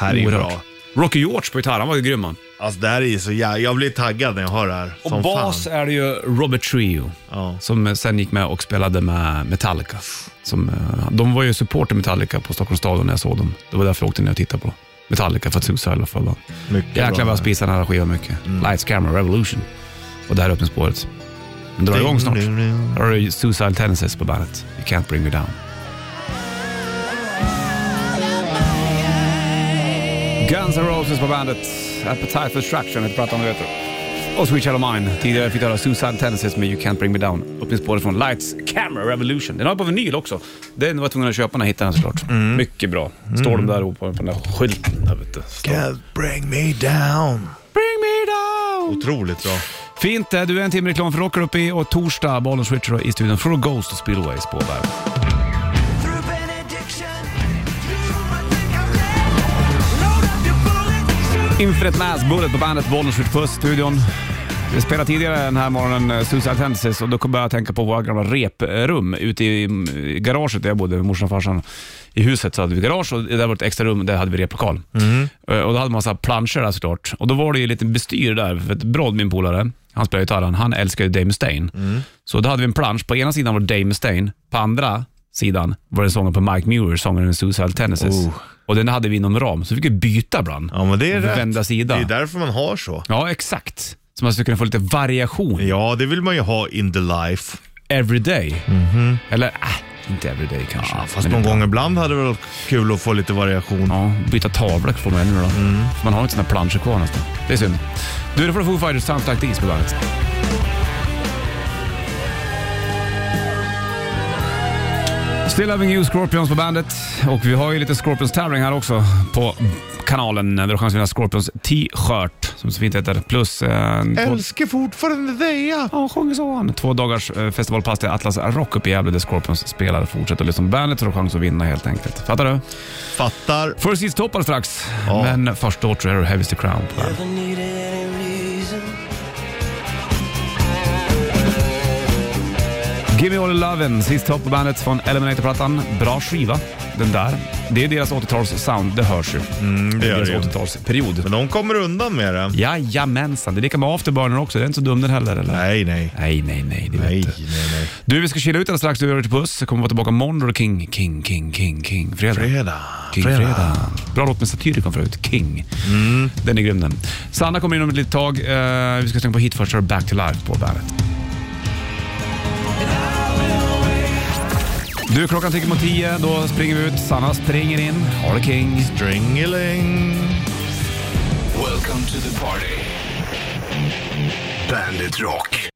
är ju
Oerhört.
bra.
Rocky George på gitarr, han var ju grym han.
Alltså det här är ju så jä... Jag blir taggad när jag hör det här.
Och
som
bas
fan.
är det ju Robert Trio
Ja.
som sen gick med och spelade med Metallica. Som, eh, de var ju supporter Metallica på Stockholms stadion när jag såg dem. Det var därför jag åkte ner och tittade på Metallica för att Suicide var förband.
Mycket
Jäklar vad
bra. Mm.
jag spisade den här skivan mycket. Lights, Camera, Revolution. Och där öppningsspåret. Den drar igång snart. Här har du Suicide Tendencies på bandet. You can't bring me down. Guns N' Roses på bandet. Appetite for Destruction heter plattan du vet. det. Och Sweet Child of Mine. Tidigare fick du höra Suicide Tendencies med You Can't Bring Me Down. Öppningsspåret från Lights Camera Revolution. Den har jag på vinyl också. Den var jag tvungen att köpa när jag hittade den såklart. Mycket bra. Står de där uppe på den där skylten där vet du. Står-
Can't bring me down.
Bring me down!
Otroligt bra.
Fint det. Du är en timme reklam för Rocker uppe i och torsdag, Bollen Switcher i studion. För Ghost och Spillways på bandet. Infinite Mass Bullet på bandet, Bollen Switcher på studion. Vi spelade tidigare den här morgonen eh, Suicide Tendencies och då kom jag att tänka på våra gamla reprum ute i mm, i garaget där jag bodde, morsan och farsan. I huset så hade vi garage och där var ett extra rum, där hade vi replokal.
Mm.
Eh, Och då hade man så här planscher där såklart. Och då var det ju lite bestyr där, för att Brod, min polare, han spelar gitarr, han- han älskar ju Dave Mustaine.
Mm.
Så då hade vi en plansch, på ena sidan var det Dave Mustaine, på andra sidan var det sången på Mike Muir, sångaren i Suicide Tendencies.
Oh.
Och den hade vi inom ram, så vi fick ju byta ibland.
Ja, men det är rätt.
Vända
Det
sida.
är därför man har så.
Ja, exakt. Så man skulle kunna få lite variation
Ja, det vill man ju ha in the life.
every day. Eller, äh, inte every day kanske.
Mhm. Ja, fast
Men
någon
ibland.
gång ibland hade det varit kul att få lite variation.
Ja, byta tavla får man ännu då.
Mm.
För man har inte sina planscher kvar nästan. Det är synd. Du, det får du Foo Fighters Sounds Like These på bandet. Still Having You Scorpions på bandet. Och vi har ju lite Scorpions tävling här också på kanalen. Där du har chans att vinna Scorpions t-shirt, som så fint heter. Plus eh, en två-
Älskar fortfarande dig. ja.
Ja, sjunger så han. Två dagars eh, festivalpass till Atlas Rock uppe i Gävle där Scorpions spelar. Fortsätt att lyssna på bandet så har du chans att vinna helt enkelt. Fattar du?
Fattar.
First Seeds toppar strax,
Ja.
men först Daughter är Heavy's the Crown på bandet. Gimme All Lovin', sist topp på bandet från Eliminator-plattan. Bra skiva, den där. Det är deras 80-tals-sound, det hörs ju.
Mm, det gör
deras
det ju.
80-talsperiod.
Men de kommer undan med det.
Jajamensan, det är lika med Afterburner också. Det är inte så dum den heller, eller?
Nej, nej.
Nej, nej, nej. Det vet
Nej,
du.
nej, nej.
Du, vi ska chilla ut alldeles strax. Du gör det till puss. Jag kommer vara tillbaka måndag. och King, king, king, king, king. Fredag.
Fredag.
King, fredag. Mm. Bra låt med Satyricon förut. King. Den är grym den. Sanna kommer in om ett litet tag. Eh, vi ska slänga på hit först, så är det Back to Life på bandet. Du, klockan tickar mot tio. Då springer vi ut. Sanna springer in. Har det king.
Dringeling.
Welcome to the party. Bandit Rock.